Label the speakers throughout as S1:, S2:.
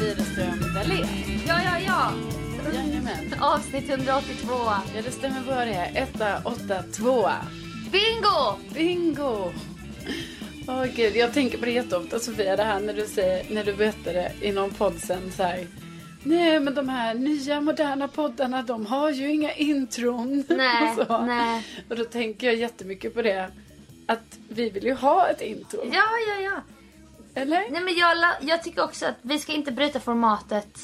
S1: Widerström Dahlén.
S2: Ja, ja, ja!
S1: Jajamän.
S2: Avsnitt 182.
S1: Ja, det stämmer bra det. är. Etta, åtta, tvåa.
S2: Bingo!
S1: Bingo! Åh gud, jag tänker på det jätteofta Sofia, det här när du säger, när du berättade i någon podd sen så här. Nej, men de här nya moderna poddarna, de har ju inga intron.
S2: Nej,
S1: och, så.
S2: nej.
S1: och då tänker jag jättemycket på det. Att vi vill ju ha ett intro,
S2: Ja, ja, ja.
S1: eller?
S2: Nej, men jag, la- jag tycker också att vi ska inte bryta formatet.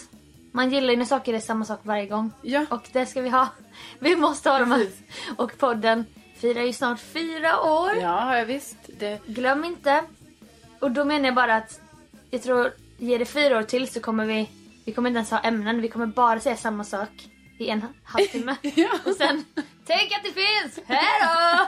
S2: Man gillar ju när saker är samma sak varje gång.
S1: Ja.
S2: Och det ska vi ha. Vi måste ha dem. Och podden firar ju snart fyra år.
S1: Ja, ja, visst. Det,
S2: Glöm inte. Och då menar jag bara att jag tror, ger det fyra år till så kommer vi, vi kommer inte ens ha ämnen. Vi kommer bara säga samma sak i en halvtimme.
S1: Ja.
S2: Och sen, tänk att det finns! Hejdå!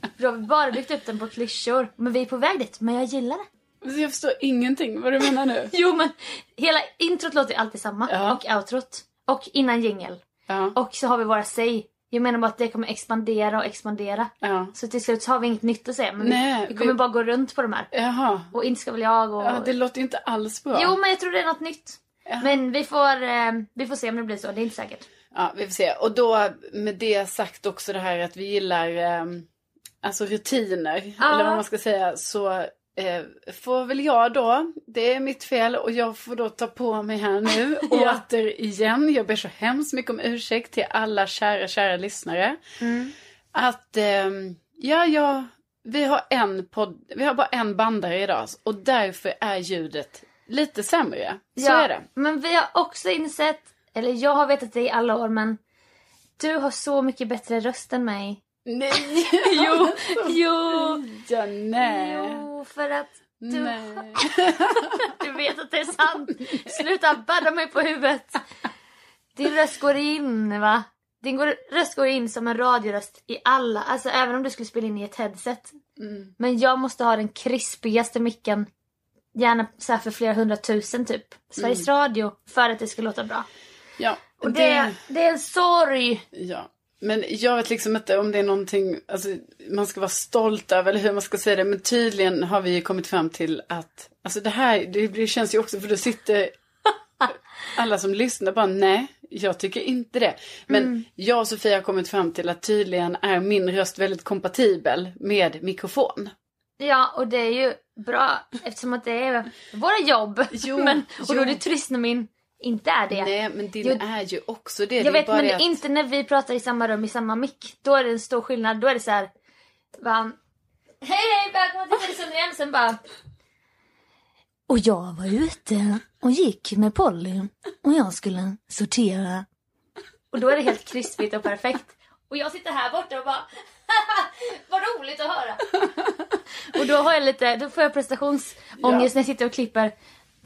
S2: För Då har vi bara byggt upp den på klyschor. Men vi är på väg dit, men jag gillar det.
S1: så jag förstår ingenting vad du menar nu.
S2: Jo men, hela introt låter ju alltid samma.
S1: Ja.
S2: Och outrot. Och innan jingel.
S1: Ja,
S2: Och så har vi våra säg. Jag menar bara att det kommer expandera och expandera.
S1: ja.
S2: Så till slut så har vi inget nytt att säga. Men
S1: Nej,
S2: vi, vi kommer
S1: vi-
S2: bara gå runt på de här.
S1: Jaha.
S2: Och inte ska väl jag och...
S1: Ja, det låter ju inte alls bra.
S2: Jo, men jag tror det är något nytt.
S1: Ja.
S2: Men vi får, eh, vi får se om det blir så. Det är inte säkert.
S1: Ja, vi får se. Och då med det sagt också det här att vi gillar ehm, alltså rutiner,
S2: Ja.
S1: eller vad man ska säga, så eh, får väl jag då, det är mitt fel och jag får då ta på mig här nu
S2: Ja.
S1: återigen. Jag ber så hemskt mycket om ursäkt till alla kära, kära lyssnare. Att, ehm, ja, ja, vi har en podd, vi har bara en bandare idag och därför är ljudet lite sämre. Så
S2: Ja,
S1: är det.
S2: Men vi har också insett, eller jag har vetat det i alla år, men du har så mycket bättre röst än mig.
S1: Nej,
S2: Jo, jo,
S1: Ja, nej.
S2: jo, för att du,
S1: Nej.
S2: du vet att det är sant. Sluta badda mig på huvudet. Din röst går in, va? Din går, röst går in som en radioröst i alla, alltså även om du skulle spela in i ett headset.
S1: Mm.
S2: Men jag måste ha den krispigaste micken. Gärna så här för flera hundratusen typ. Sveriges
S1: Mm.
S2: Radio. För att det ska låta bra.
S1: Ja,
S2: Och det, det är en sorg.
S1: ja. Men jag vet liksom inte om det är någonting alltså, man ska vara stolt över eller hur man ska säga det. Men tydligen har vi ju kommit fram till att, alltså det här, det blir- känns ju också för då sitter alla som lyssnar bara nej, jag tycker inte det. Men
S2: Mm.
S1: jag och Sofia har kommit fram till att tydligen är min röst väldigt kompatibel med mikrofon.
S2: Ja, och det är ju bra eftersom att det är våra jobb.
S1: Jo,
S2: men, och då är det
S1: jo.
S2: trist när min inte är det.
S1: Nej, men din
S2: Jo.
S1: är ju också det. det
S2: jag
S1: är
S2: vet,
S1: bara
S2: men
S1: det
S2: det är
S1: att-
S2: inte när vi pratar i samma rum i samma mick. Då är det en stor skillnad. Då är det så här... Bara, hej, hej, välkomna till Hälsund igen. Sen bara...
S3: Och jag var ute och gick med Polly och jag skulle sortera.
S2: Och då är det helt krispigt och perfekt. Och jag sitter här borta och bara Vad roligt att höra! och då har jag lite, då får jag prestationsångest när jag sitter och klipper.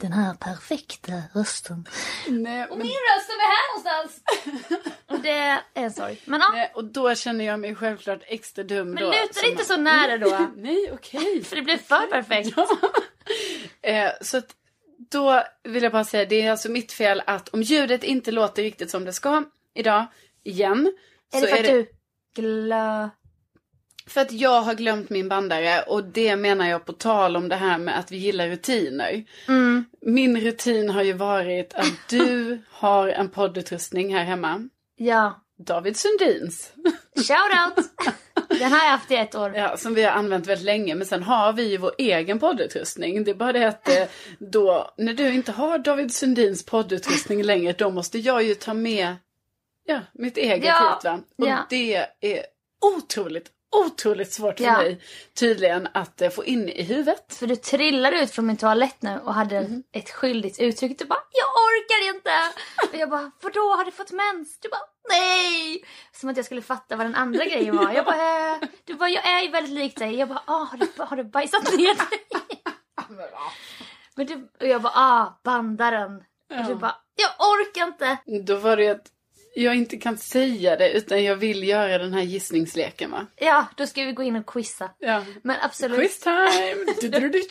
S3: Den här perfekta rösten.
S1: Nej, men...
S2: Min röst som är här någonstans! och det är en sorg. Men ja,
S1: Nej, och då känner jag mig självklart extra dum
S2: men
S1: då.
S2: luta dig
S1: som-
S2: inte så nära då.
S1: Nej, okej.
S2: För det blir för perfekt.
S1: Eh, så att då vill jag bara säga, det är alltså mitt fel att om ljudet inte låter riktigt som det ska idag, igen.
S2: är
S1: så
S2: det för att du glö...
S1: för att jag har glömt min bandare och det menar jag på tal om det här med att vi gillar rutiner.
S2: Mm,
S1: Min rutin har ju varit att du har en poddutrustning här hemma.
S2: Ja.
S1: David Sundins.
S2: Shout out! Den har jag haft i ett år.
S1: Ja, som vi har använt väldigt länge. Men sen har vi ju vår egen poddutrustning. Det är bara det att eh, då, när du inte har David Sundins poddutrustning längre, då måste jag ju ta med ja, mitt eget
S2: Ja,
S1: hit. Va? Och
S2: ja.
S1: det är otroligt, otroligt svårt för
S2: Ja.
S1: mig tydligen att eh, få in i huvudet.
S2: För du trillade ut från min toalett nu och hade ett skyldigt uttryck. Du bara “Jag orkar inte!” Och jag bara “Vadå, har du fått mens?” Du bara “Nej!” Som att jag skulle fatta vad den andra grejen var. Jag bara äh. Du bara “Jag är ju väldigt lik dig.” Jag bara “Ah, har du, har du bajsat ner dig?” Men du, Och jag bara “Ah, bandaren.” Och du bara “Jag orkar inte!”
S1: Då var det ju att jag inte kan säga det utan jag vill göra den här gissningsleken va?
S2: Ja, då ska vi gå in och quizza.
S1: Ja.
S2: Men absolut,
S1: Quiz time! Du-du-du-du-du.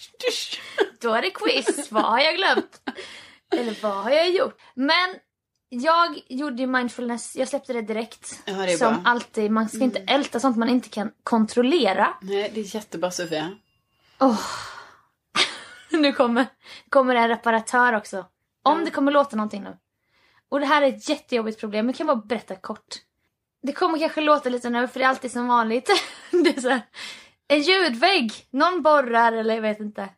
S2: då är det quiz. Vad har jag glömt? Eller vad har jag gjort? Men jag gjorde ju mindfulness, jag släppte det direkt.
S1: Ja, det är
S2: som
S1: bra. Mm.
S2: alltid, man ska inte älta sånt man inte kan kontrollera.
S1: Nej, det är jättebra Sofia.
S2: Åh. nu kommer, kommer en reparatör också. Om det kommer låta någonting nu. Och det här är ett jättejobbigt problem, men jag kan bara berätta kort. Det kommer kanske låta lite nu, för det är alltid som vanligt. det är så här, en ljudvägg! Någon borrar eller jag vet inte.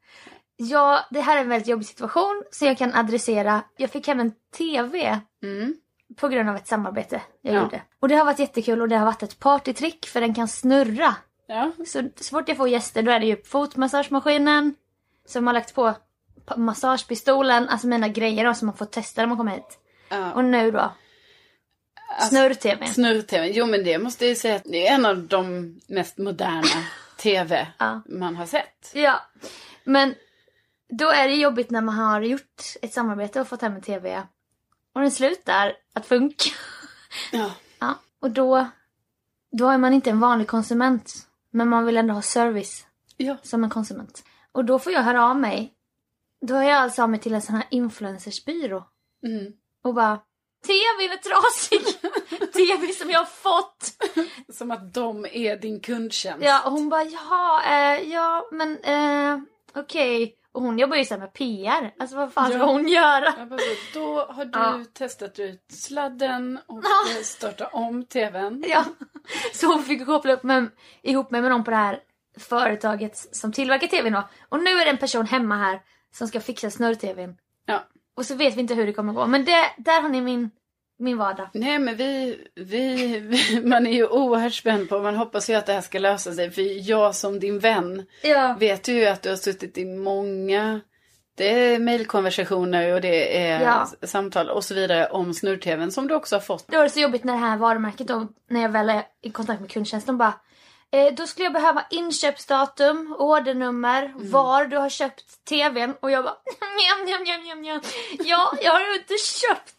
S2: Ja, det här är en väldigt jobbig situation som jag kan adressera. Jag fick även TV
S1: Mm.
S2: på grund av ett samarbete jag
S1: Ja.
S2: gjorde. Och det har varit jättekul och det har varit ett partytrick för den kan snurra.
S1: Ja.
S2: Så, så fort jag får gäster då är det ju fotmassagemaskinen som har lagt på pa- massagepistolen, alltså mina grejer då som man får testa när man kommer hit.
S1: ja.
S2: Och nu då, snurr-tv.
S1: Snurr-tv. Jo men det måste jag ju säga att det är en av de mest moderna tv
S2: Ja.
S1: man har sett.
S2: Ja, men då är det jobbigt när man har gjort ett samarbete och fått hem en tv och den slutar att funka.
S1: Ja.
S2: Ja, och då, då är man inte en vanlig konsument, men man vill ändå ha service.
S1: Ja.
S2: som en konsument. Och då får jag höra av mig. Då hör jag alltså av mig till en sån här influencersbyrå
S1: Mm.
S2: och bara TVn är trasig! TV som jag har fått!
S1: Som att de är din kundtjänst.
S2: Ja, och hon bara ja, eh, ja men eh, okej. Och hon jobbar ju så här med PR. Alltså vad fan ska
S1: Ja.
S2: hon göra?
S1: Jag bara, så, då har du
S2: Ja.
S1: testat ut sladden och
S2: Ja.
S1: eh, startat om tvn.
S2: Ja. Så hon fick koppla upp med, ihop mig med någon på det här företaget som tillverkar tvn då. Och nu är det en person hemma här som ska fixa snurr-tvn.
S1: Ja.
S2: Och så vet vi inte hur det kommer gå. Men det, där har ni min, min vardag.
S1: Nej men vi, vi, vi, man är ju oerhört spänd på, man hoppas ju att det här ska lösa sig. För jag som din vän
S2: Ja.
S1: vet ju att du har suttit i många, det är mejlkonversationer och det är
S2: Ja.
S1: s- samtal och så vidare om snurr-tvn som du också har fått.
S2: Då var det så jobbigt när det här varumärket då, när jag väl är i kontakt med kundtjänst, de bara eh, då skulle jag behöva inköpsdatum, ordernummer, var du har köpt tvn och jag bara njam, njam, njam, njam, njam. Ja, jag har ju inte köpt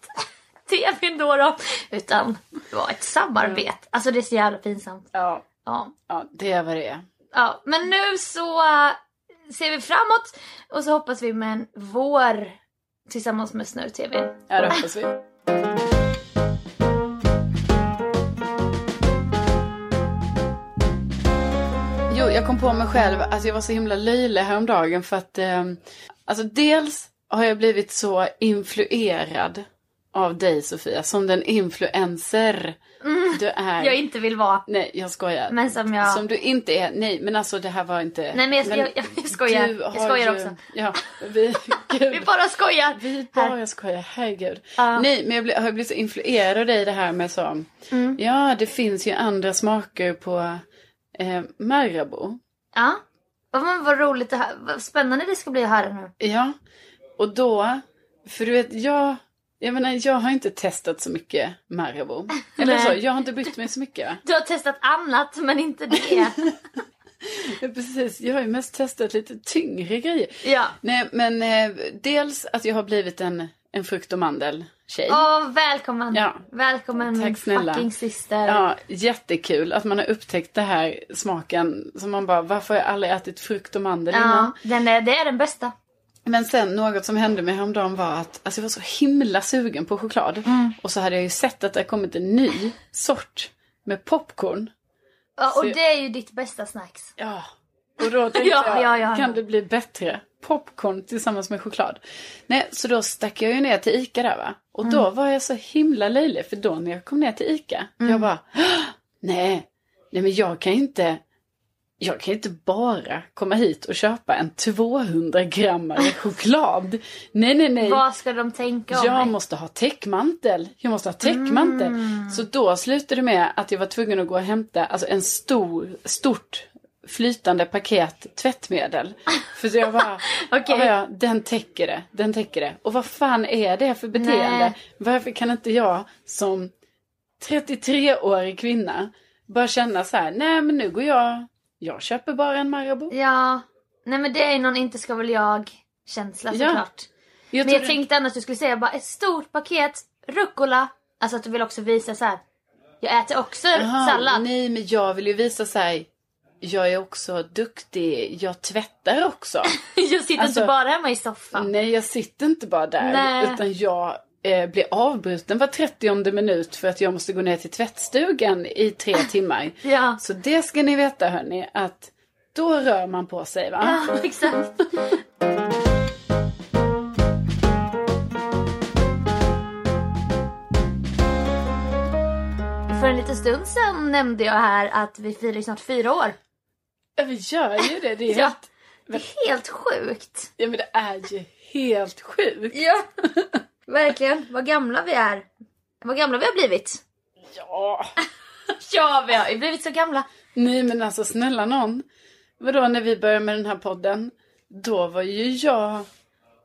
S2: tvn då då. Utan det var ett samarbete. Alltså det är så jävla pinsamt.
S1: Ja.
S2: Ja.
S1: Ja, det är vad det är.
S2: ja. Men nu så eh, ser vi framåt och så hoppas vi med en vår tillsammans med Snurr-TV.
S1: Ja, det hoppas vi. Jo, jag kom på mig själv att jag var så himla löjlig häromdagen för att eh, alltså dels har jag blivit så influerad av dig Sofia, som den influencer du är.
S2: Jag inte vill vara,
S1: Nej, jag skojar.
S2: men som jag...
S1: Som du inte är. Nej, men alltså det här var inte...
S2: Nej men jag, jag, jag, jag skojar.
S1: du
S2: Jag
S1: har
S2: skojar
S1: ju-
S2: också.
S1: Ja, vi... Gud.
S2: Vi bara skojar.
S1: Vi
S2: Här.
S1: bara skojar, herregud.
S2: Ja.
S1: Nej, men jag blir- har blivit så influerad i det här med så,
S2: Mm.
S1: ja det finns ju andra smaker på eh, Marabou.
S2: Ja. Ja, Men vad roligt det här. Vad spännande det ska bli att höra nu.
S1: Ja, och då, för du vet, jag, jag menar jag har inte testat så mycket Marabou. Eller
S2: Nej.
S1: så, jag har inte brytt mig så mycket.
S2: Du har testat annat men inte det.
S1: Ja, Precis, jag har ju mest testat lite tyngre grejer.
S2: ja.
S1: Nej, men eh, dels att jag har blivit en, en frukt och mandeltjej.
S2: Åh välkommen.
S1: Ja.
S2: Välkommen
S1: Tack
S2: min
S1: snälla.
S2: fucking syster.
S1: Ja, jättekul att man har upptäckt det här smaken som man bara, varför har jag aldrig ätit frukt och mandel innan?
S2: Ja, den är, det är den bästa.
S1: Men sen något som hände mig häromdagen var att alltså, jag var så himla sugen på choklad. Och så hade jag ju sett att det har kommit en ny sort med popcorn.
S2: Ja, och
S1: Så-
S2: det är ju ditt bästa snacks.
S1: Ja. Och då tänkte
S2: Ja,
S1: jag,
S2: ja, ja.
S1: kan det bli bättre? Popcorn tillsammans med choklad. Nej, så då stack jag ju ner till ICA där va. Och då
S2: Mm.
S1: var jag så himla löjlig för då när jag kom ner till ICA,
S2: Mm.
S1: jag bara, "Åh, nej, nej men jag kan inte, jag kan inte bara komma hit och köpa en 200 grammare choklad. Nej, nej, nej.
S2: Vad ska de tänka om
S1: Jag
S2: mig?
S1: måste ha täckmantel. Jag måste ha täckmantel.
S2: Mm.
S1: Så då slutade det med att jag var tvungen att gå och hämta alltså en stor, stort flytande paket tvättmedel. För så jag bara,
S2: Okej.
S1: "Ja, ja, den täcker det, den täcker det. Och vad fan är det för beteende?
S2: Nej.
S1: Varför kan inte jag som 33-årig kvinna bara känna så här, nej men nu går jag, jag köper bara en Marabou.
S2: Ja. Nej men det är någon inte ska väl jag-känsla
S1: Ja.
S2: såklart.
S1: Jag
S2: Men jag
S1: trodde-
S2: tänkte annars att du skulle säga bara ett stort paket rucola. Alltså att du vill också visa så här. Jag äter också
S1: Jaha,
S2: sallad.
S1: Nej, men jag vill ju visa så här. Jag är också duktig. Jag tvättar också.
S2: Jag sitter
S1: Alltså-
S2: inte bara hemma i soffan.
S1: nej, jag sitter inte bara där.
S2: Nej.
S1: Utan jag eh, blir avbruten var 30 minut för att jag måste gå ner till tvättstugan i tre
S2: Ah.
S1: timmar.
S2: Ja.
S1: Så det ska ni veta hörni, att då rör man på sig va?
S2: ja, exakt. För en liten stund sedan nämnde jag här att vi firar ju snart fyra år.
S1: Ja, vi gör ju det. Det är,
S2: Ja.
S1: helt,
S2: Det är helt sjukt.
S1: ja, men det är ju helt sjukt.
S2: Ja, verkligen. Vad gamla vi är. Vad gamla vi har blivit.
S1: Ja.
S2: Ja, vi har ju blivit så gamla.
S1: Nej, men alltså snälla någon. Vadå, när vi började med den här podden, då var ju jag...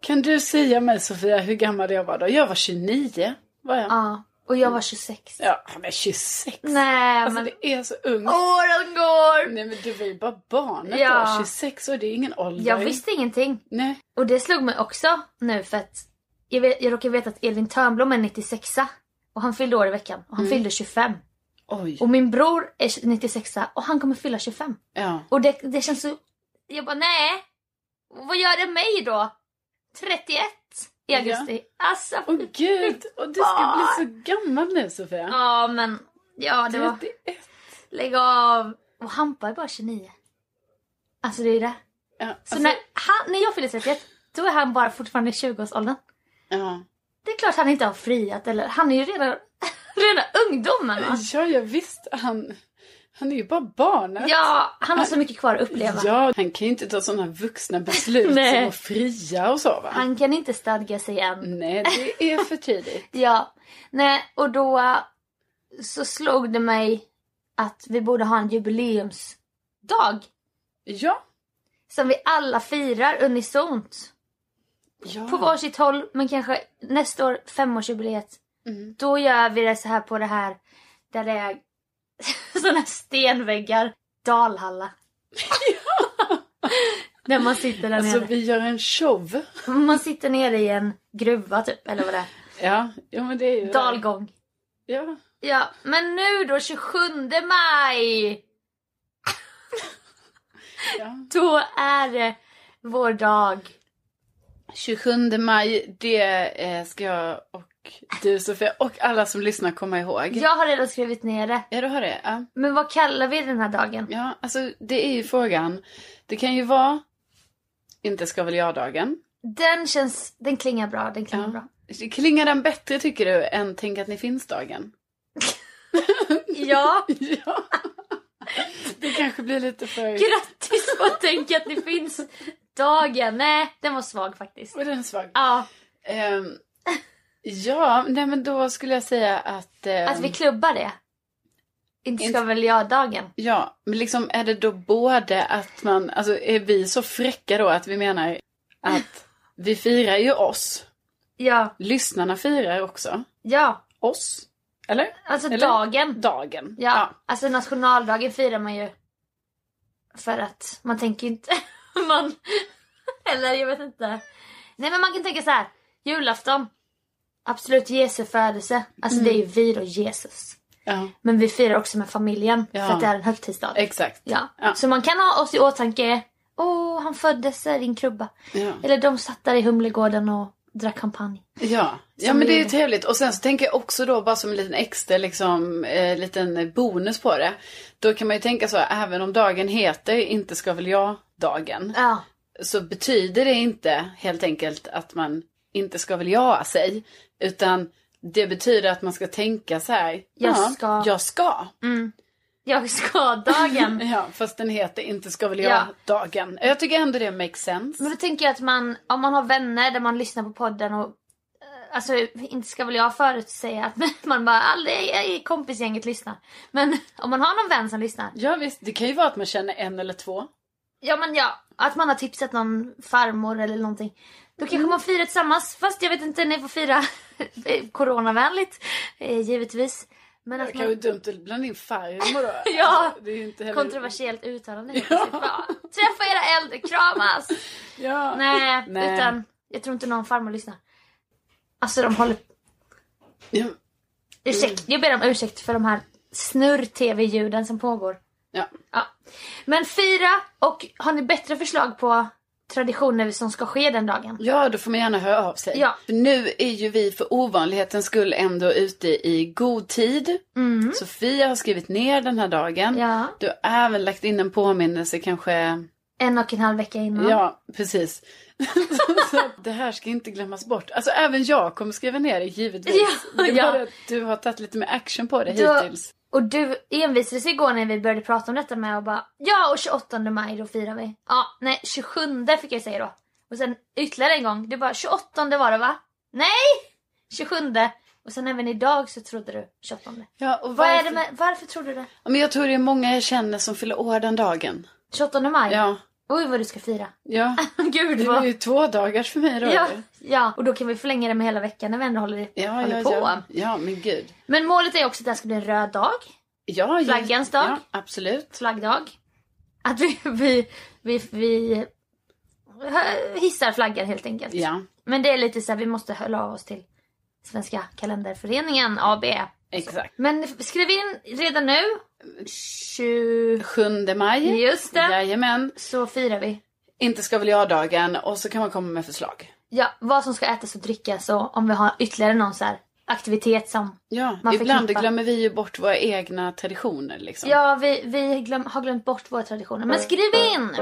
S1: Kan du säga mig, Sofia, hur gammal jag var då? Jag var 29, var jag.
S2: Ja, och jag var 26.
S1: Ja, men 26.
S2: Nej,
S1: Alltså,
S2: men
S1: det är så ungt.
S2: åren går!
S1: Nej, men du var ju bara barnet
S2: Ja.
S1: då. 26 år, det är ingen ålder.
S2: Jag visste ingenting.
S1: Nej.
S2: Och det slog mig också nu för att jag, vet, jag råkar veta att Elvin Törnblom är 96 och han fyllde år i veckan och han
S1: Mm.
S2: fyllde 25.
S1: Oj.
S2: Och min bror är 96 och han kommer fylla 25.
S1: Ja.
S2: Och det, det känns så... Jag bara, nej. Vad gör det mig då? 31 i
S1: Ja.
S2: augusti. Alltså,
S1: Åh gud, och du ska bli så gammal nu Sofia.
S2: ja men... Ja, det var...
S1: 31.
S2: Lägg av. Och Hampa är bara 29. Alltså det är ju det.
S1: Ja,
S2: Så
S1: alltså,
S2: när, han, när jag fyller 31, då är han bara fortfarande i 20-årsåldern.
S1: ja.
S2: Det är klart han inte har friat eller... Han är ju redan... rena ungdomen va?
S1: ja, jag visst. Han, han är ju bara barnet.
S2: Ja, han har så mycket kvar att uppleva.
S1: Ja, han kan ju inte ta sådana vuxna beslut
S2: Nej.
S1: som att fria och så va?
S2: Han kan inte stadga sig än.
S1: Nej, det är för tidigt.
S2: Ja, nej, och då eh, så slog det mig att vi borde ha en jubileumsdag
S1: Ja.
S2: som vi alla firar unisont.
S1: ja.
S2: På varsitt håll, men kanske nästa år, femårsjubileet.
S1: Mm.
S2: Då gör vi det så här på det här där det är sådana stenväggar, Dalhalla. När man sitter där
S1: Alltså
S2: nere.
S1: vi gör en show.
S2: Man sitter nere i en gruva typ, eller vad det är.
S1: Ja, ja men det är ju...
S2: Dalgång.
S1: Ja.
S2: Ja, men nu då 27 maj!
S1: ja.
S2: Då är det vår dag.
S1: 27 maj, det eh, ska jag och du Sofia och alla som lyssnar komma ihåg.
S2: Jag har redan skrivit ner det.
S1: Ja, du har det? Ja.
S2: Men vad kallar vi den här dagen?
S1: Ja, alltså det är ju frågan. Det kan ju vara inte ska väl jag-dagen.
S2: Den känns... Den klingar bra. Den klingar
S1: Ja.
S2: bra.
S1: Klingar den bättre tycker du än tänk att ni finns-dagen?
S2: Ja,
S1: Ja. Det kanske blir lite för...
S2: grattis på att tänka att det finns dagen. Nej, den var svag faktiskt.
S1: Och den är svag.
S2: Ja,
S1: Ehm, ja, nej men då skulle jag säga att... ehm,
S2: att vi klubbar det. Inte ska
S1: Inte-
S2: väl jag-dagen.
S1: Ja, men liksom är det då både att man... Alltså är vi så fräcka då att vi menar att vi firar ju oss.
S2: Ja,
S1: Lyssnarna firar också
S2: ja.
S1: oss. Eller?
S2: Alltså
S1: Eller?
S2: dagen.
S1: Dagen.
S2: Ja. alltså nationaldagen firar man ju. För att man tänker ju inte... man... Eller jag vet inte. Nej men man kan tänka så här. Julafton. Absolut Jesu födelse. Alltså det är
S1: Mm.
S2: ju vi då, Jesus.
S1: ja.
S2: Men vi firar också med familjen.
S1: Ja.
S2: För att det är en högtidsdag.
S1: Exakt.
S2: ja.
S1: Ja.
S2: Så man kan ha oss i åtanke. Åh, han föddes där i en krubba.
S1: Ja,
S2: Eller de satt där i Humlegården och drack champagne.
S1: ja. ja
S2: Som
S1: men det är ju
S2: vi-
S1: trevligt. Och sen så tänker jag också då bara som en liten extra liksom, eh, liten bonus på det. Då kan man ju tänka så här, även om dagen heter inte ska väl jag-dagen.
S2: Ja,
S1: Så betyder det inte helt enkelt att man inte ska väl jag sig. Utan det betyder att man ska tänka så här.
S2: Jag
S1: ja,
S2: ska.
S1: Jag ska.
S2: jag ska-dagen.
S1: Ja, fast den heter inte ska väl
S2: Ja.
S1: jag-dagen. Jag tycker ändå det makes sense.
S2: Men då tänker jag att man, om man har vänner där man lyssnar på podden och eh, Alltså inte ska väl jag förutsäga att man bara aldrig i kompisgänget lyssnar. Men om man har någon vän som lyssnar.
S1: Ja visst, det kan ju vara att man känner en eller två.
S2: Ja men ja, att man har tipsat någon farmor eller någonting. Då kanske man firar tillsammans. Fast jag vet inte, ni får fira coronavänligt. eh, Givetvis. Men
S1: Det
S2: att
S1: kanske är
S2: man...
S1: dumt att blanda in farmor då.
S2: Alltså, Ja.
S1: Alltså, det är ju inte heller...
S2: Kontroversiellt uttalande. helt plötsligt. Bara, Träffa era äldre, kramas!
S1: Ja.
S2: Nej,
S1: Nej.
S2: utan jag tror inte någon farmor lyssnar. Alltså de håller
S1: Ja.
S2: Ursäkt, jag ber om ursäkt för de här snurr-tv-ljuden som pågår.
S1: Ja.
S2: Ja. Men fira och har ni bättre förslag på traditioner som ska ske den dagen?
S1: ja, då får man gärna höra av sig.
S2: Ja.
S1: För nu är ju vi för ovanlighetens skull ändå ute i god tid.
S2: Mm.
S1: Sofia har skrivit ner den här dagen.
S2: Ja, Mm.
S1: Du har även lagt in en påminnelse kanske.
S2: en och en halv vecka innan.
S1: Ja, precis. Så att det här ska inte glömmas bort. Alltså även jag kommer skriva ner det givetvis.
S2: Ja,
S1: det är
S2: ja.
S1: bara att du har tagit lite mer action på det
S2: Du-
S1: hittills.
S2: Och du envisades igår när vi började prata om detta med och bara ja och 28 maj då firar vi. Ja, nej 27 fick jag säga då. Och sen ytterligare en gång, du bara 28 var det va? Nej! 27 och sen även idag så trodde du 28.
S1: Ja, och
S2: Vad är
S1: varför-
S2: det med, varför trodde du det?
S1: Ja, Men jag tror det är många jag känner som fyller år den dagen.
S2: 28 maj?
S1: Ja,
S2: Oj vad du ska fira.
S1: ja.
S2: Gud
S1: Det är
S2: vad...
S1: ju två dagar för mig då.
S2: Ja, ja, och då kan vi förlänga det med hela veckan när vi ändå håller,
S1: ja,
S2: håller
S1: ja,
S2: på.
S1: ja. Ja, men gud.
S2: Men målet är också att det här ska bli en röd dag.
S1: Ja, ju-
S2: Flaggans dag.
S1: Ja, absolut.
S2: flaggdag. Att vi, vi, vi, vi hissar flaggan helt enkelt.
S1: Ja,
S2: Men det är lite så här, vi måste höra av oss till Svenska kalenderföreningen AB.
S1: exakt.
S2: Men skriv in redan nu. 20...
S1: 7 maj.
S2: Just det.
S1: Jajamän.
S2: Så firar vi.
S1: Inte ska väl jag-dagen och så kan man komma med förslag.
S2: Ja, vad som ska ätas och drickas och om vi har ytterligare någon så här aktivitet som...
S1: Ja,
S2: Man får
S1: ibland
S2: knippa.
S1: glömmer vi ju bort våra egna traditioner liksom.
S2: Ja, vi, vi glöm, har glömt bort våra traditioner. Men skriv in!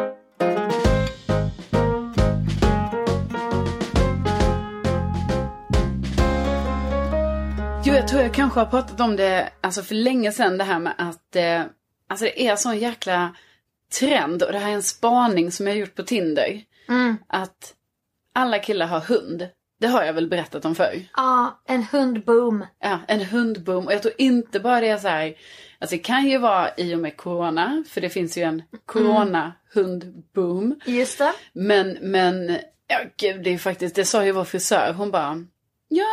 S1: Jo, jag tror jag kanske har pratat om det alltså för länge sedan, det här med att eh, alltså det är sån jäkla trend och det här är en spaning som jag har gjort på Tinder.
S2: Mm.
S1: Att alla killar har hund. Det har jag väl berättat om förr.
S2: Ja, en hundboom.
S1: Ja, en hundboom. Och jag tror inte bara det är så här. Alltså det kan ju vara i och med corona. För det finns ju en corona-hundboom.
S2: Just det.
S1: Men, men, ja gud det är faktiskt, det sa ju vår frisör. Hon bara, ja,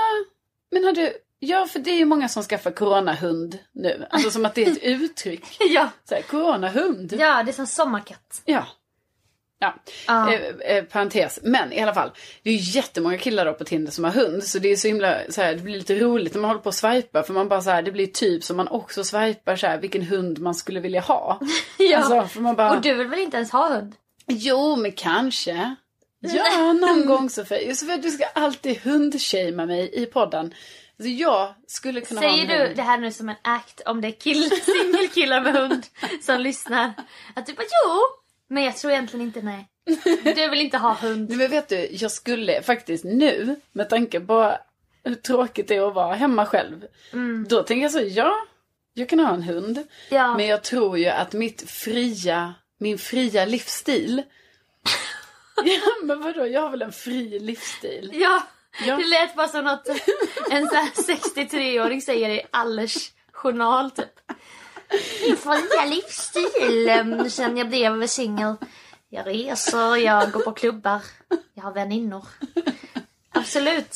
S1: men har du, ja för det är ju många som skaffar coronahund nu. Alltså som att det är ett uttryck.
S2: Ja,
S1: Så här, coronahund.
S2: ja det är som sommarkatt.
S1: ja. Ja,
S2: Ja.
S1: Eh, eh, parentes. Men i alla fall, det är ju jättemånga killar då på Tinder som har hund. Så det är så himla, så här, det blir lite roligt när man håller på och swipar. För man bara så här, det blir typ som man också swipar så här, vilken hund man skulle vilja ha.
S2: Ja.
S1: Alltså, för man bara,
S2: Och du vill väl inte ens ha hund?
S1: jo men kanske. Ja, någon gång Sofie. Sofie, du ska alltid hundshamea mig i podden. Så jag skulle kunna
S2: Säger
S1: ha en
S2: du
S1: hund.
S2: det här nu som en act om det är kill- singelkillar med hund som lyssnar? Att du bara jo, men jag tror egentligen inte nej. Du vill inte ha hund.
S1: Nej, men vet du, jag skulle faktiskt nu, med tanke på hur tråkigt det är att vara hemma själv.
S2: Mm.
S1: Då tänker jag så, ja, jag kan ha en hund.
S2: Ja.
S1: Men jag tror ju att mitt fria, min fria livsstil. ja men vadå, jag har väl en fri livsstil.
S2: ja.
S1: Ja.
S2: Det lät bara som något en sån här 63-åring säger i Allers journal typ. Min fria livsstil eh, sen jag blev singel. Jag reser, jag går på klubbar, jag har väninnor. Absolut.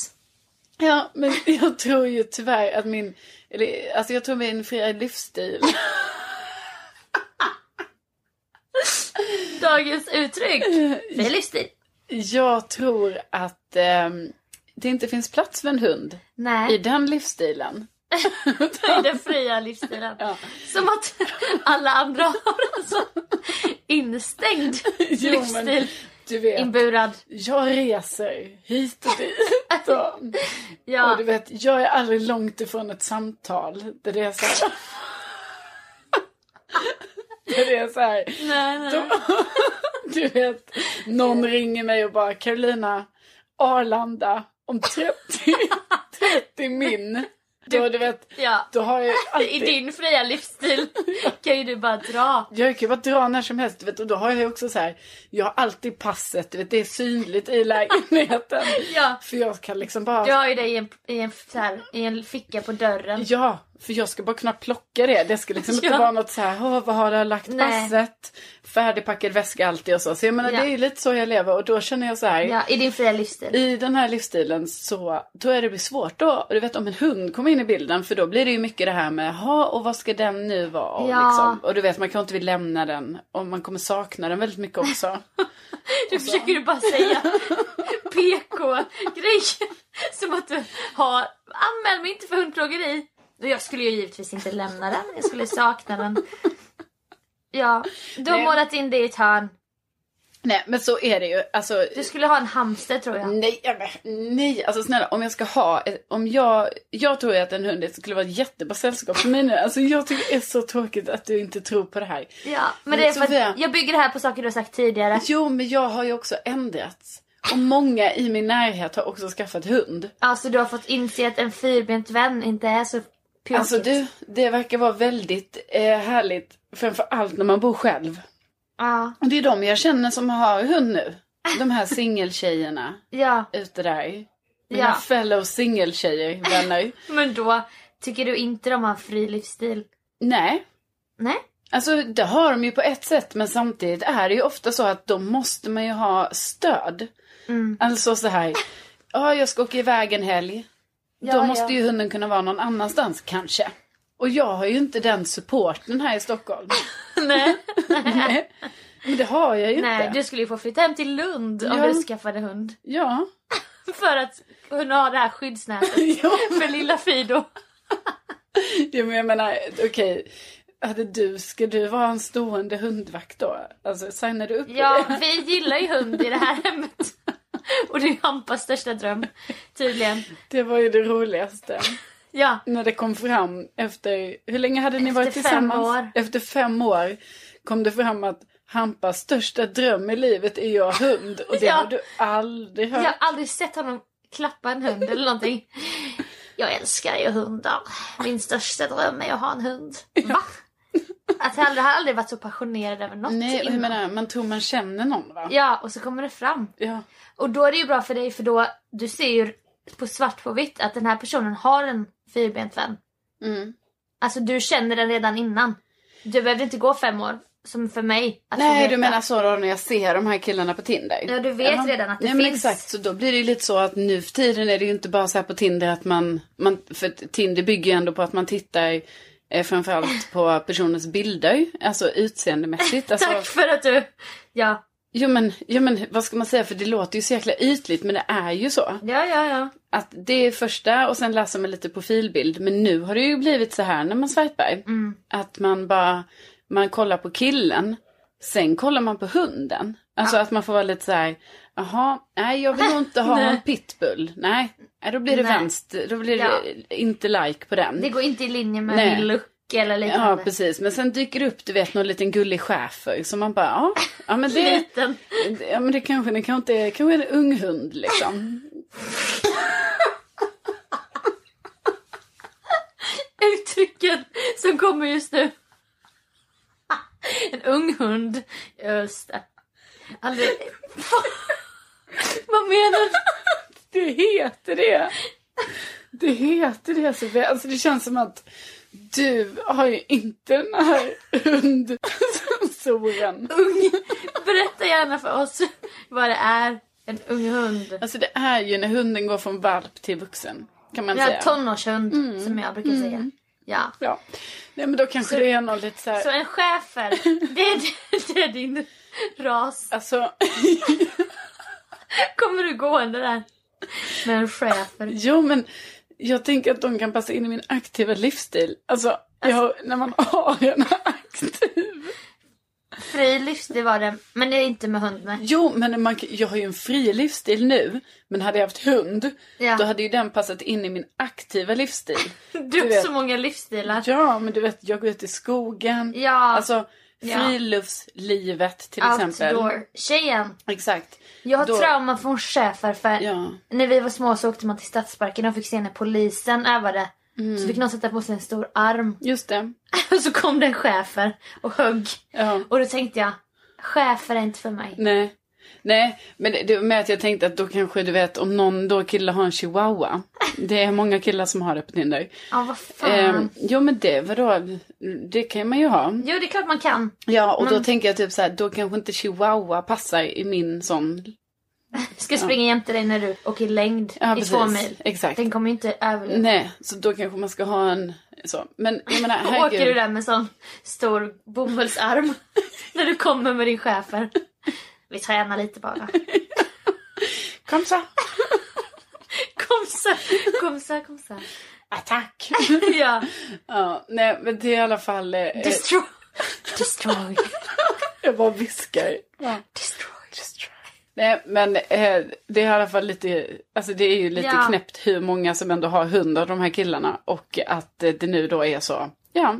S1: Ja men jag tror ju tyvärr att min, eller, alltså jag tror min fria livsstil.
S2: Dagens uttryck. Det är livsstil.
S1: Jag tror att ehm, det inte finns plats för en hund i
S2: Nej,
S1: den livsstilen.
S2: det är den fria livsstilen.
S1: Ja.
S2: Som att alla andra har en sån instängd
S1: Jo, men
S2: livsstil.
S1: Du vet,
S2: Inburad.
S1: jag reser hit och dit. Och, och
S2: Ja.
S1: du vet, jag är aldrig långt ifrån ett samtal där det är så här. där det är så här.
S2: Nej, nej.
S1: Du vet, någon ringer mig och bara Carolina, Arlanda om 30, 30 min. Då, du vet,
S2: Ja.
S1: då har jag
S2: I
S1: alltid...
S2: din fria livsstil kan ju du bara dra.
S1: Jag kan ju bara dra när som helst, du vet, och då har jag ju också så här, jag har alltid passet, du vet, det är synligt i lägenheten.
S2: Ja.
S1: För jag kan liksom bara...
S2: Du har ju det i en, i en, så här, i en ficka på dörren.
S1: Ja, för jag ska bara kunna plocka det. Det ska liksom inte
S2: Ja.
S1: vara något så här, "Åh, vad har du lagt
S2: Nej.
S1: passet? Färdigpackad väska alltid och så. Så jag menar,
S2: Ja.
S1: det är ju lite så jag lever och då känner jag så här,
S2: Ja, i din fria livsstil.
S1: i den här livsstilen så tror jag det blir svårt då. Och Du vet om en hund kommer in i bilden för då blir det ju mycket det här med ha och vad ska den nu vara? Och,
S2: Ja.
S1: liksom. och du vet man kanske inte vill lämna den och man kommer sakna den väldigt mycket också.
S2: Du försöker ju bara säga PK-grejer. Som att du har anmäl mig inte för hundplågeri. Och jag skulle ju givetvis inte lämna den. Jag skulle sakna den. Ja, du har
S1: Nej.
S2: målat in det i ett hörn.
S1: Nej men så är det ju. Alltså,
S2: Du skulle ha en hamster tror jag.
S1: Nej, jag vet- nej, alltså snälla om jag ska ha, ett- om jag, jag tror ju att en hund skulle vara ett jättebra sällskap för mig nu. Alltså jag tycker det är så tråkigt att du inte tror på det här.
S2: Ja, men
S1: Men
S2: det är för
S1: Sofia-
S2: att jag bygger det här på saker du har sagt tidigare.
S1: Jo, men jag har ju också ändrats. Och många i min närhet har också skaffat hund.
S2: Alltså du har fått inse att en fyrbent vän inte är så pjåkigt.
S1: Alltså du, det verkar vara väldigt eh, härligt. Framförallt när man bor själv.
S2: Ja.
S1: Och det är de jag känner som har hund nu. De här singeltjejerna
S2: ja.
S1: ute där. Mina
S2: Ja.
S1: fellow singeltjejer, vänner.
S2: Men då tycker du inte de har en fri livsstil?
S1: Nej,
S2: Nej.
S1: Alltså det har de ju på ett sätt men samtidigt är det ju ofta så att då måste man ju ha stöd.
S2: Mm.
S1: Alltså så här, ja jag ska åka iväg en helg.
S2: Ja,
S1: då
S2: ja.
S1: måste ju hunden kunna vara någon annanstans kanske. Och jag har ju inte den supporten här i Stockholm.
S2: Nej.
S1: Nej. Men det har jag ju
S2: Nej,
S1: inte.
S2: du skulle ju få flytta hem till Lund om
S1: Ja.
S2: du skaffade hund.
S1: Ja.
S2: För att kunna ha det här skyddsnätet
S1: ja.
S2: för lilla Fido.
S1: Jo men jag menar, okej. Hade du, ska du vara en stående hundvakt då? Alltså signar du upp på
S2: Ja,
S1: det?
S2: vi gillar ju hund i det här hemmet. Och det är Hampas största dröm, tydligen.
S1: Det var ju det roligaste.
S2: Ja,
S1: när det kom fram efter, hur länge hade ni varit
S2: Efter fem
S1: tillsammans?
S2: år.
S1: Efter fem år. kom det fram att Hampas största dröm i livet är jag hund och det
S2: Ja.
S1: har du aldrig
S2: jag
S1: hört.
S2: har aldrig sett honom klappa en hund eller någonting. Jag älskar ju hundar. Min största dröm är att ha en hund. Va? Att jag aldrig, har aldrig varit så passionerad över något
S1: Nej, och jag
S2: innan.
S1: menar, man tror man känner någon va?
S2: Ja, och så kommer det fram.
S1: Ja.
S2: Och då är det ju bra för dig för då, du ser ju på svart på vitt att den här personen har en fyrbent vän.
S1: Mm.
S2: Alltså du känner den redan innan. Du behövde inte gå fem år, som för mig. att få
S1: Nej,
S2: Alltså, veta.
S1: du menar så då när jag ser de här killarna på Tinder?
S2: Ja, du vet redan att det
S1: Nej, men
S2: finns.
S1: exakt. Så då blir det ju lite så att nu för tiden är det ju inte bara så här på Tinder att man... man för att Tinder bygger ju ändå på att man tittar eh, framförallt på personens bilder. Alltså utseendemässigt. Alltså,
S2: Tack för att du... Ja,
S1: Jo men, jo men vad ska man säga för det låter ju så jäkla ytligt men det är ju så.
S2: ja, ja. ja.
S1: Att det är första och sen läser man lite profilbild men nu har det ju blivit så här när man swipar.
S2: Mm.
S1: Att man bara, man kollar på killen, sen kollar man på hunden. Alltså att man får vara lite så här, jaha, nej jag vill nog inte ha
S2: Nej.
S1: en pitbull. Nej, nej, då blir det
S2: Nej.
S1: vänster, då blir det
S2: Ja.
S1: inte like på den.
S2: Det går inte i linje med
S1: Nej.
S2: min look eller
S1: Ja
S2: liknande.
S1: precis, men sen dyker det upp du vet någon liten gullig schäfer som man bara, ja, ja men det,
S2: Liten.
S1: Ja men det kanske, det kanske inte är, kanske en ung hund liksom.
S2: Uttrycken som kommer just nu. En ung hund. Just det. Aldrig... Vad menar du?
S1: Det heter det. Det heter det Sofia. Alltså det känns som att du har ju inte den här hundsensoren.
S2: Ung. Berätta gärna för oss vad det är. En ung hund.
S1: Alltså det är ju när hunden går från valp till vuxen. Kan man
S2: Ja,
S1: säga. Mm.
S2: tonårshund som jag brukar säga. Ja.
S1: Ja. Nej men då kanske det är någon lite så här.
S2: Så en schäfer, det är, det är din ras.
S1: Alltså
S2: Kommer du gående där med en schäfer?
S1: jo men jag tänker att de kan passa in i min aktiva livsstil. Alltså jag, när man har en aktiv.
S2: Fri livsstil var det, men det är inte med hund nej.
S1: Jo, men man, kan- jag har ju en fri livsstil nu. Men hade jag haft hund,
S2: Ja.
S1: då hade ju den passat in i min aktiva livsstil.
S2: Du har
S1: vet.
S2: så många livsstilar.
S1: Ja, men du vet, jag går ut i skogen.
S2: Ja,
S1: Alltså,
S2: Ja.
S1: friluftslivet till exempel.
S2: outdoor-tjejen.
S1: Exakt.
S2: Jag har
S1: Då-
S2: trauma från schäfer för
S1: Ja.
S2: när vi var små så åkte man till Stadsparken och fick se när polisen övade.
S1: Mm.
S2: Så fick någon sätta på sig en stor arm
S1: Just det.
S2: och så kom det en schäfer och högg.
S1: Ja.
S2: Och då tänkte jag, schäfer är inte för mig.
S1: Nej. Nej, men det- det var med att jag tänkte att då kanske du vet om någon då kille har en chihuahua. Det är många killar som har det på Tinder.
S2: Ja, vad fan.
S1: Ehm, jo men det, vadå? Det kan man ju ha.
S2: Jo, det är klart man kan.
S1: Ja, och då
S2: Men-
S1: tänker jag typ så här, då kanske inte chihuahua passar i min sån...
S2: Ska springa jämte dig när du åker längd i två mil.
S1: Exakt.
S2: Den kommer ju inte överleva.
S1: Nej, så då kanske man ska ha en så. Men jag menar,
S2: Och åker du
S1: herregud.
S2: där med sån stor bomullsarm när du kommer med din schäfer. Vi tränar lite bara.
S1: Kom så.
S2: Kom så, kom så, kom så. Ah,
S1: Attack.
S2: Ja,
S1: ja, nej, men det är i alla fall... Eh,
S2: destroy. Destroy.
S1: jag bara viskar. Ja.
S2: Destroy.
S1: Nej, men eh, det är i alla fall lite... Alltså det är ju lite
S2: Ja.
S1: knäppt hur många som ändå har hund av de här killarna. Och att eh, det nu då är så... Ja,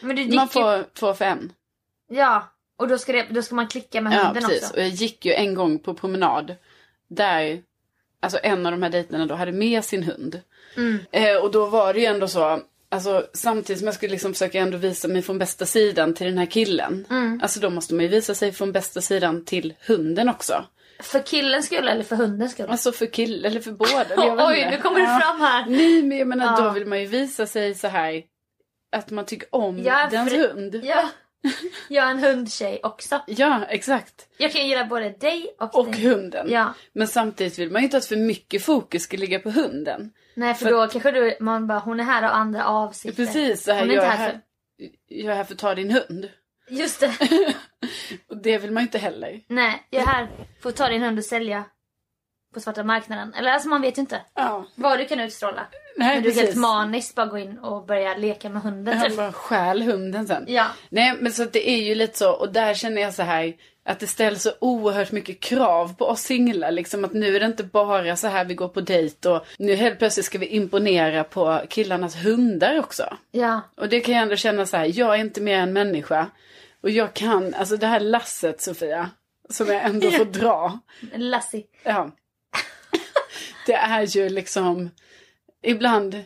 S2: Men du gick
S1: man
S2: ju...
S1: får två för en.
S2: Ja, och då ska, det, då ska man klicka med
S1: Ja,
S2: hunden
S1: precis.
S2: också.
S1: Och jag gick ju en gång på promenad där alltså en av de här dejterna då hade med sin hund.
S2: Mm.
S1: Eh, och då var det ju ändå så, alltså samtidigt som jag skulle liksom försöka ändå visa mig från bästa sidan till den här killen.
S2: Mm.
S1: Alltså då måste man ju visa sig från bästa sidan till hunden också.
S2: För killens skull eller för hundens skull?
S1: Alltså för kill eller för båda. eller jag vet
S2: Oj,
S1: inte.
S2: nu kommer det
S1: Ja.
S2: fram här.
S1: Nej, men jag menar
S2: Ja.
S1: då vill man ju visa sig så här att man tycker om
S2: Ja,
S1: dens
S2: för-
S1: hund. Ja.
S2: Ja. Jag är en hundtjej också.
S1: exakt.
S2: Jag kan gilla både dig och,
S1: Och
S2: dig.
S1: hunden.
S2: Ja.
S1: Men samtidigt vill man ju inte att för mycket fokus ska ligga på hunden.
S2: Nej, för,
S1: För-
S2: då kanske du, man bara, hon är här av andra avsikter.
S1: Precis så här,
S2: Hon är
S1: jag
S2: inte
S1: är
S2: här
S1: här, jag är här för att ta din hund.
S2: Just det.
S1: Och det vill man ju inte heller.
S2: Nej, jag är här för att ta din hund och sälja på svarta marknaden. Eller alltså man vet ju inte
S1: Ja,
S2: vad du kan utstråla.
S1: nej
S2: Men du är helt
S1: precis.
S2: maniskt bara gå in och börja leka med hunden
S1: Han
S2: typ.
S1: bara stjäl hunden sen.
S2: Ja.
S1: Nej, men så att det är ju lite så. Och där känner jag så här. Att det ställs så oerhört mycket krav på oss singlar. Liksom att nu är det inte bara så här vi går på dejt och nu helt plötsligt ska vi imponera på killarnas hundar också.
S2: Ja.
S1: Och det kan jag ändå känna så här, jag är inte mer än människa. Och jag kan, alltså det här lasset Sofia, som jag ändå får dra.
S2: Lassie.
S1: Ja. Det är ju liksom, ibland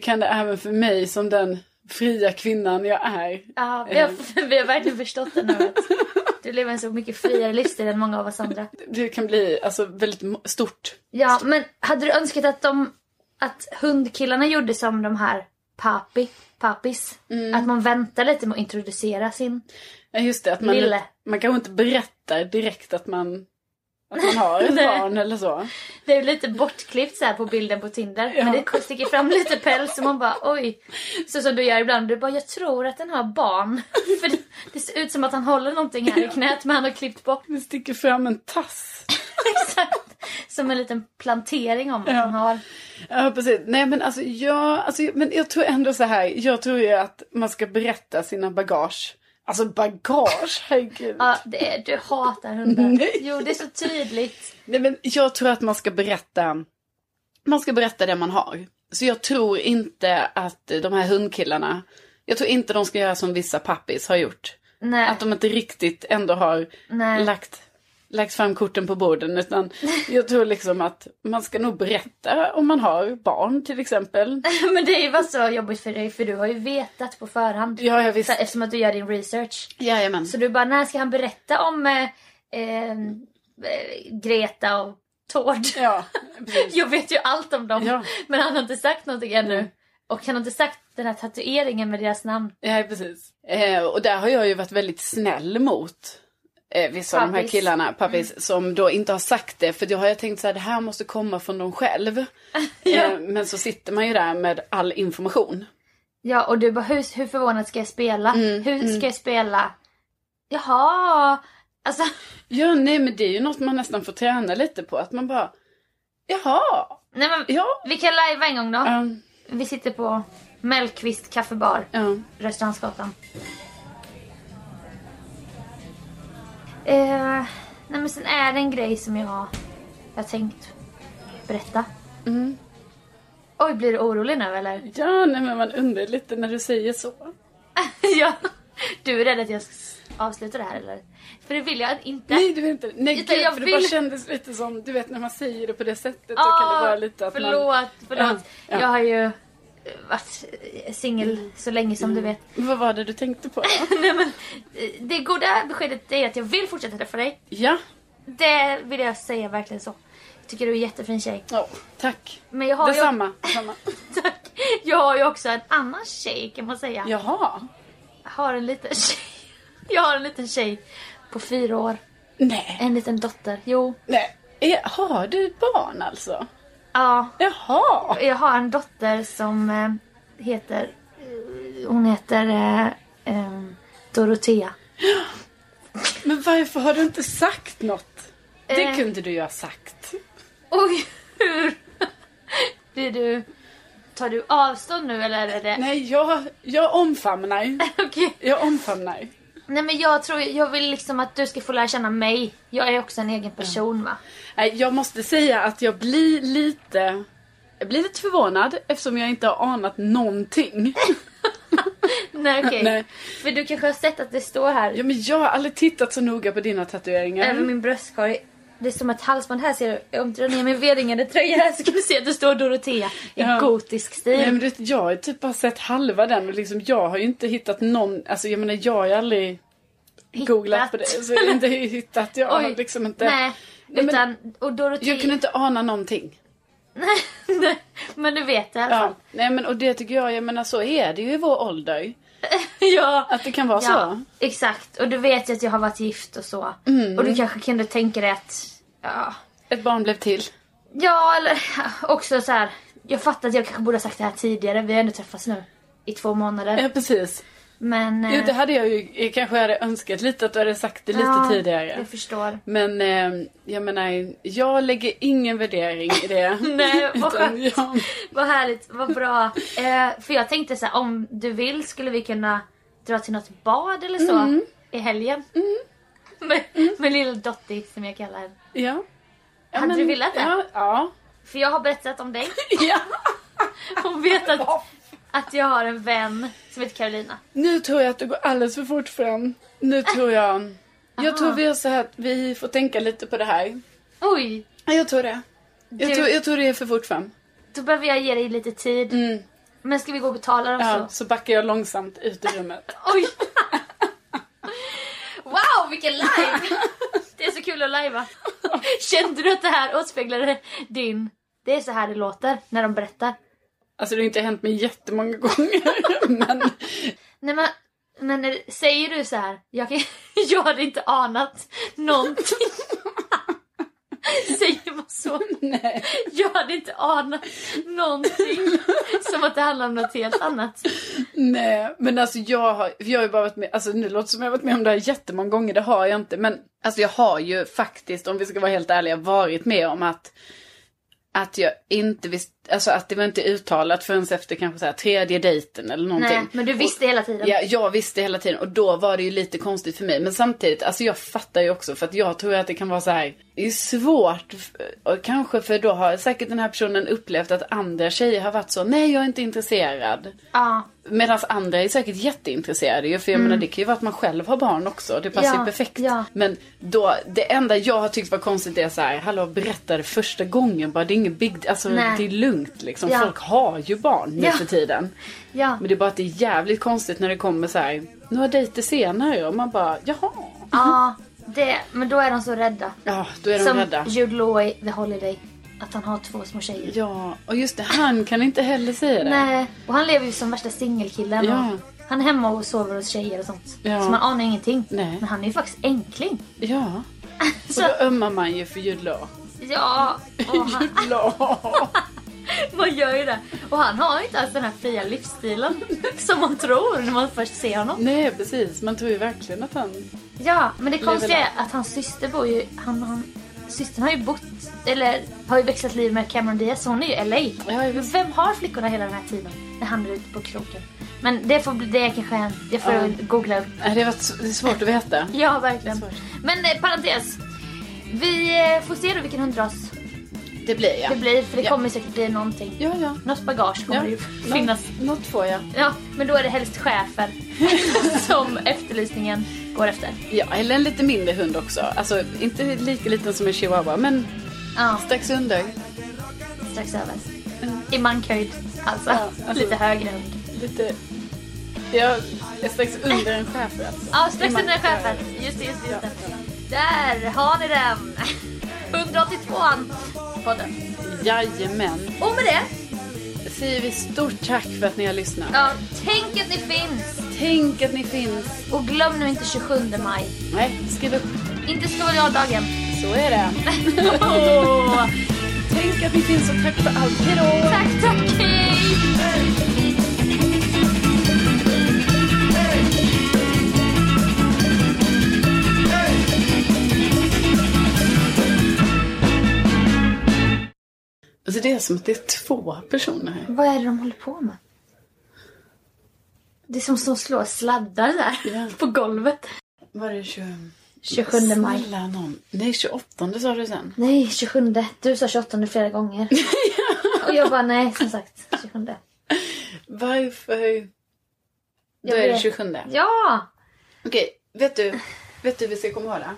S1: kan det även för mig som den fria kvinnan jag är.
S2: Ja, vi har, vi har verkligen förstått det nu. att Du lever en så mycket friare livsstil än många av oss andra.
S1: Det kan bli alltså väldigt mo- stort.
S2: Ja, men hade du önskat att de att hundkillarna gjorde som de här papi, papis?
S1: Mm.
S2: Att man väntar lite med att introducera sin...
S1: Ja, just det, att man,
S2: Lille.
S1: man kanske inte berättar direkt att man, att man har ett
S2: Nej.
S1: barn eller så.
S2: Det är lite bortklippt så här på bilden på Tinder. Men det sticker fram lite päls och man bara oj. Så som du gör ibland. Du bara jag tror att den har barn. För det, det ser ut som att han håller någonting här i knät men han har klippt bort.
S1: Det sticker fram en tass.
S2: Exakt. Som en liten plantering om att
S1: Ja.
S2: han har.
S1: Ja, precis. Nej, men alltså jag, alltså, men jag tror ändå så här. Jag tror ju att man ska berätta sina bagage. Alltså bagage, herregud.
S2: Ja, det är, du hatar hundar.
S1: Nej.
S2: Jo, det är så tydligt.
S1: Nej, men jag tror att man ska berätta. Man ska berätta det man har. Så jag tror inte att de här hundkillarna. Jag tror inte de ska göra som vissa pappis har gjort.
S2: Nej.
S1: Att de inte riktigt ändå har
S2: Nej.
S1: lagt, lagt fram korten på borden. Utan jag tror liksom att man ska nog berätta om man har barn till exempel.
S2: Men det är ju bara så jobbigt för dig för du har ju vetat på förhand.
S1: Ja, jag visst.
S2: Så, eftersom att du gör din research.
S1: Jajamän.
S2: Så du bara, när ska han berätta om eh, eh, Greta och Tord?
S1: Ja, precis.
S2: Jag vet ju allt om dem.
S1: Ja.
S2: Men han har inte sagt någonting ännu. Och han har inte sagt den här tatueringen med deras namn.
S1: Ja, precis. Eh, och där har jag ju varit väldigt snäll mot eh, vissa av de här
S2: Pappis. Mm.
S1: killarna, pappis, som då inte har sagt det. För då har jag tänkt så här, det här måste komma från dem själv. eh, men så sitter man ju där med all information.
S2: Ja, och du bara, hur, hur förvånad ska jag spela?
S1: Mm,
S2: hur ska jag spela? Jaha. Alltså,
S1: Ja, nej men det är ju något man nästan får träna lite på. Att man bara, jaha,
S2: nej men,
S1: ja.
S2: vi kan lajva en gång då.
S1: Ja,
S2: Vi sitter på Mellqvist kaffebar.
S1: ja.
S2: Rörstrandsgatan. Eh, nej men sen är det en grej som jag jag har tänkt berätta.
S1: Mm.
S2: Oj, blir du orolig nu eller?
S1: ja, nej men man undrar lite när du säger så.
S2: ja. Du är rädd att jag ska s- avsluta det här eller? För det vill jag inte.
S1: Nej, du vet inte. Nej,
S2: Utan
S1: gud,
S2: jag
S1: för det
S2: vill- Ah,
S1: bara kändes lite som, du vet när man säger det på det sättet. då kan det vara lite att man...
S2: förlåt, förlåt.
S1: Ja, ja.
S2: Jag har ju eh, varit eh, singel så länge som du vet.
S1: Vad var det du tänkte på då?
S2: nej, men, eh, det goda beskedet är att jag vill fortsätta träffa dig.
S1: Ja.
S2: Det vill jag säga verkligen så. Jag tycker du är en jättefin tjej.
S1: Ja, tack.
S2: Men jag har, ju,
S1: Detsamma. detsamma.
S2: tack, jag har ju också en annan tjej kan man säga.
S1: Jaha.
S2: Jag har en liten tjej. Jag har en liten tjej på fyra år.
S1: Nej.
S2: En liten dotter. Jo.
S1: Nej. Är, har du barn alltså?
S2: Ja.
S1: Jaha.
S2: Jag har en dotter som eh, heter... eh, Hon heter eh, eh, Dorotea.
S1: Men varför har du inte sagt något? Det
S2: Eh.
S1: kunde du ju ha sagt.
S2: Oj, hur? Blir du... Tar du avstånd nu eller är det...
S1: Nej, jag, jag omfamnar.
S2: Okej.
S1: Jag omfamnar.
S2: Nej men jag tror, jag vill liksom att du ska få lära känna mig. Jag är också en egen person va?
S1: Nej, Jag måste säga att jag blir lite... Jag blir lite förvånad eftersom jag inte har anat någonting.
S2: Nej okej.
S1: Nej.
S2: För du kanske har sett att det står här
S1: Ja, men jag har aldrig tittat så noga på dina
S2: över
S1: tatueringar.
S2: min bröstkorg. Det är som ett halsband. Här ser du. Om du drar ner min V-ringade tröja här så kan du se att det står Dorotea i
S1: Ja.
S2: gotisk stil.
S1: Nej, men du vet, jag har ju typ bara sett halva den och liksom, jag har ju inte hittat någon, alltså jag menar jag har ju aldrig googlat på det. Så jag har inte hittat, jag har
S2: Oj.
S1: liksom inte,
S2: Nej,
S1: Nej, men-
S2: utan... Och Dorotea...
S1: jag kunde inte ana någonting.
S2: Nej, men du vet det i alla fall.
S1: Ja. Nej men och det tycker jag, jag menar så är det ju i vår ålder.
S2: Ja.
S1: Att det kan vara
S2: Ja,
S1: så. Mm.
S2: exakt. Och du vet ju att jag har varit gift och så. Och du kanske kunde tänka dig att... Ja,
S1: Ett barn blev till.
S2: ja eller också så här. Jag fattar att jag kanske borde ha sagt det här tidigare. Vi har ändå träffats nu i två månader.
S1: Ja precis.
S2: Men...
S1: Jo,
S2: eh,
S1: det hade jag ju kanske hade önskat lite att du hade sagt det lite
S2: ja,
S1: tidigare.
S2: Jag förstår.
S1: Men eh, jag menar, jag lägger ingen värdering i det.
S2: Nej, vad
S1: Utan
S2: skönt.
S1: jag-
S2: Vad härligt, vad bra. Eh, för jag tänkte så här, om du vill skulle vi kunna dra till något bad eller så
S1: Mm.
S2: i helgen. Med, med lilla Dottie som jag kallar henne.
S1: Ja. ja
S2: Hade du velat det?
S1: Ja. ja.
S2: För jag har berättat om dig.
S1: ja.
S2: Hon vet att, att jag har en vän som heter Carolina.
S1: Nu tror jag att det går alldeles för fort fram. Nu tror jag... Jag tror vi gör så här att vi får tänka lite på det här.
S2: Oj,
S1: Ja, Jag tror det. Jag
S2: Du-
S1: tror, jag tror det är för fort fram.
S2: då behöver jag ge dig lite tid.
S1: Mm.
S2: Men ska vi gå och betala dem
S1: Ja,
S2: så?
S1: så backar jag långsamt ut ur rummet.
S2: Oj! wow, vilken live! Det är så kul att lajva. Kände du att det här återspeglade din... Det är så här det låter när de berättar.
S1: Alltså det har inte hänt mig jättemånga gånger. Men
S2: Nej men, men när, säger du så här, jag, kan, jag hade inte anat någonting. säger man så?
S1: nej.
S2: Jag hade inte anat någonting. Som att det handlar om något helt annat.
S1: Nej, men alltså jag har, jag har ju bara varit med, alltså nu låter det som jag har varit med om det här jättemånga gånger, det har jag inte. Men alltså jag har ju faktiskt, om vi ska vara helt ärliga, varit med om att, att jag inte visste, alltså att det var inte uttalat förrän efter kanske så här tredje dejten eller någonting.
S2: Nej, men du visste hela tiden.
S1: Ja, jag visste hela tiden och då var det ju lite konstigt för mig. Men samtidigt, alltså jag fattar ju också för att jag tror att det kan vara så här. Det är svårt, och kanske för då har säkert den här personen upplevt att andra tjejer har varit så, nej jag är inte intresserad.
S2: Ja.
S1: Medan andra är säkert jätteintresserade ju, för jag menar det kan ju vara att man själv har barn också, det passar
S2: Mm. Ja,
S1: ju perfekt.
S2: ja.
S1: Men då, det enda jag har tyckt var konstigt är så här, hallå berätta det första gången bara, det är ingen big, alltså
S2: Nej.
S1: det är lugnt liksom,
S2: Ja.
S1: folk har ju barn nu
S2: Ja.
S1: för tiden.
S2: Ja.
S1: Men det är bara att det är jävligt konstigt när det kommer så här, några dejter senare och man bara, jaha.
S2: ja det, men då är de så rädda.
S1: Ja, då är de
S2: Som
S1: rädda.
S2: Jude Law i The Holiday. Att han har två små tjejer.
S1: Ja, och just det, han kan inte heller säga det.
S2: Nej, och han lever ju som värsta singelkillen.
S1: Ja.
S2: och Han är hemma och sover hos tjejer och sånt.
S1: Ja.
S2: Så man anar ingenting.
S1: Nej.
S2: Men han är ju faktiskt enkling.
S1: Ja, och
S2: Så,
S1: då ömmar man ju för Jude Law.
S2: ja, och han,
S1: Jude Law.
S2: man gör ju det. Och han har ju inte alls den här fria livsstilen som man tror när man först ser honom.
S1: Nej, precis. Man tror ju verkligen att han...
S2: Ja, men det konstiga
S1: Lever
S2: är att hans syster bor ju... Han, han, systern har ju bott, eller har ju växlat liv med Cameron Diaz, så hon är ju i LA.
S1: Ja, jag
S2: Men
S1: vet.
S2: vem har flickorna hela den här tiden när han är ute på kroken? Men det får bli, det kanske är en, det får jag googla upp.
S1: Nej, det har varit s- det är svårt att veta.
S2: Ja, verkligen.
S1: Svårt.
S2: Men eh, parentes. Vi eh, får se då vilken hundras
S1: Det blir
S2: det
S1: jag.
S2: blir, för det
S1: Ja.
S2: kommer säkert bli någonting.
S1: Ja, ja.
S2: Något bagage kommer
S1: Ja.
S2: det ju
S1: Nå-
S2: finnas.
S1: Något får jag.
S2: Ja, men då är det helst chefer som efterlysningen går efter.
S1: Ja, eller en lite mindre hund också. Alltså, inte lika liten som en chihuahua, men
S2: Ja,
S1: strax under.
S2: strax över. I mankhöjd, Mm. alltså.
S1: Ja, alltså-
S2: Lite högre hund.
S1: Lite... Ja, strax under en schäfer alltså.
S2: Ja, strax
S1: Man-
S2: under chefen. Just det, just det, just det. Där har ni den! 182an podden.
S1: Jajamän.
S2: Och med det,
S1: Säger vi stort tack för att ni har lyssnat.
S2: ja, tänk att ni finns!
S1: Tänk att ni finns.
S2: Och glöm nu inte 27 maj.
S1: Nej, skriv upp.
S2: Inte skoldagen.
S1: Så är det. Tänk att ni finns och tack för allt. Hej då!
S2: Tack, tack, hej!
S1: Alltså, det är som att det är två personer här.
S2: Vad är det de håller på med? Det är som som slår sladdar där
S1: Ja.
S2: på golvet.
S1: Var det 20...
S2: 27 maj.
S1: Snälla nån. Nej, 28 sa du sen.
S2: Nej, 27. Du sa 28 flera gånger. Och jag bara nej, som sagt. 27.
S1: Varför? Då
S2: Jag
S1: är det
S2: vet.
S1: 27.
S2: Ja!
S1: Okej, vet du, vet du hur vi ska komma ihåg det?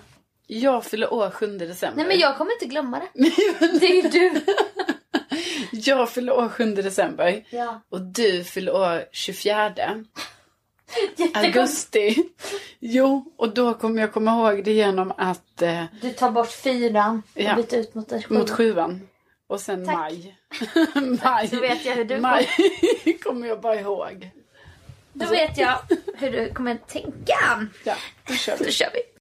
S1: Jag fyller år 7 december.
S2: Nej men jag kommer inte glömma det.
S1: jag...
S2: Det är ju du.
S1: jag fyller år 7 december
S2: Ja.
S1: och du fyller år 24
S2: Jättekonstigt.
S1: augusti. Jo, och då kommer jag komma ihåg det genom att eh,
S2: Du tar bort fyran och
S1: Ja.
S2: byter ut mot en sjua.
S1: mot sjuan. Och sen
S2: Mm. Tack.
S1: maj. maj.
S2: Då vet jag hur du
S1: maj kommer jag bara ihåg.
S2: Då vet jag hur du kommer tänka.
S1: Ja, då kör vi.
S2: Då kör vi.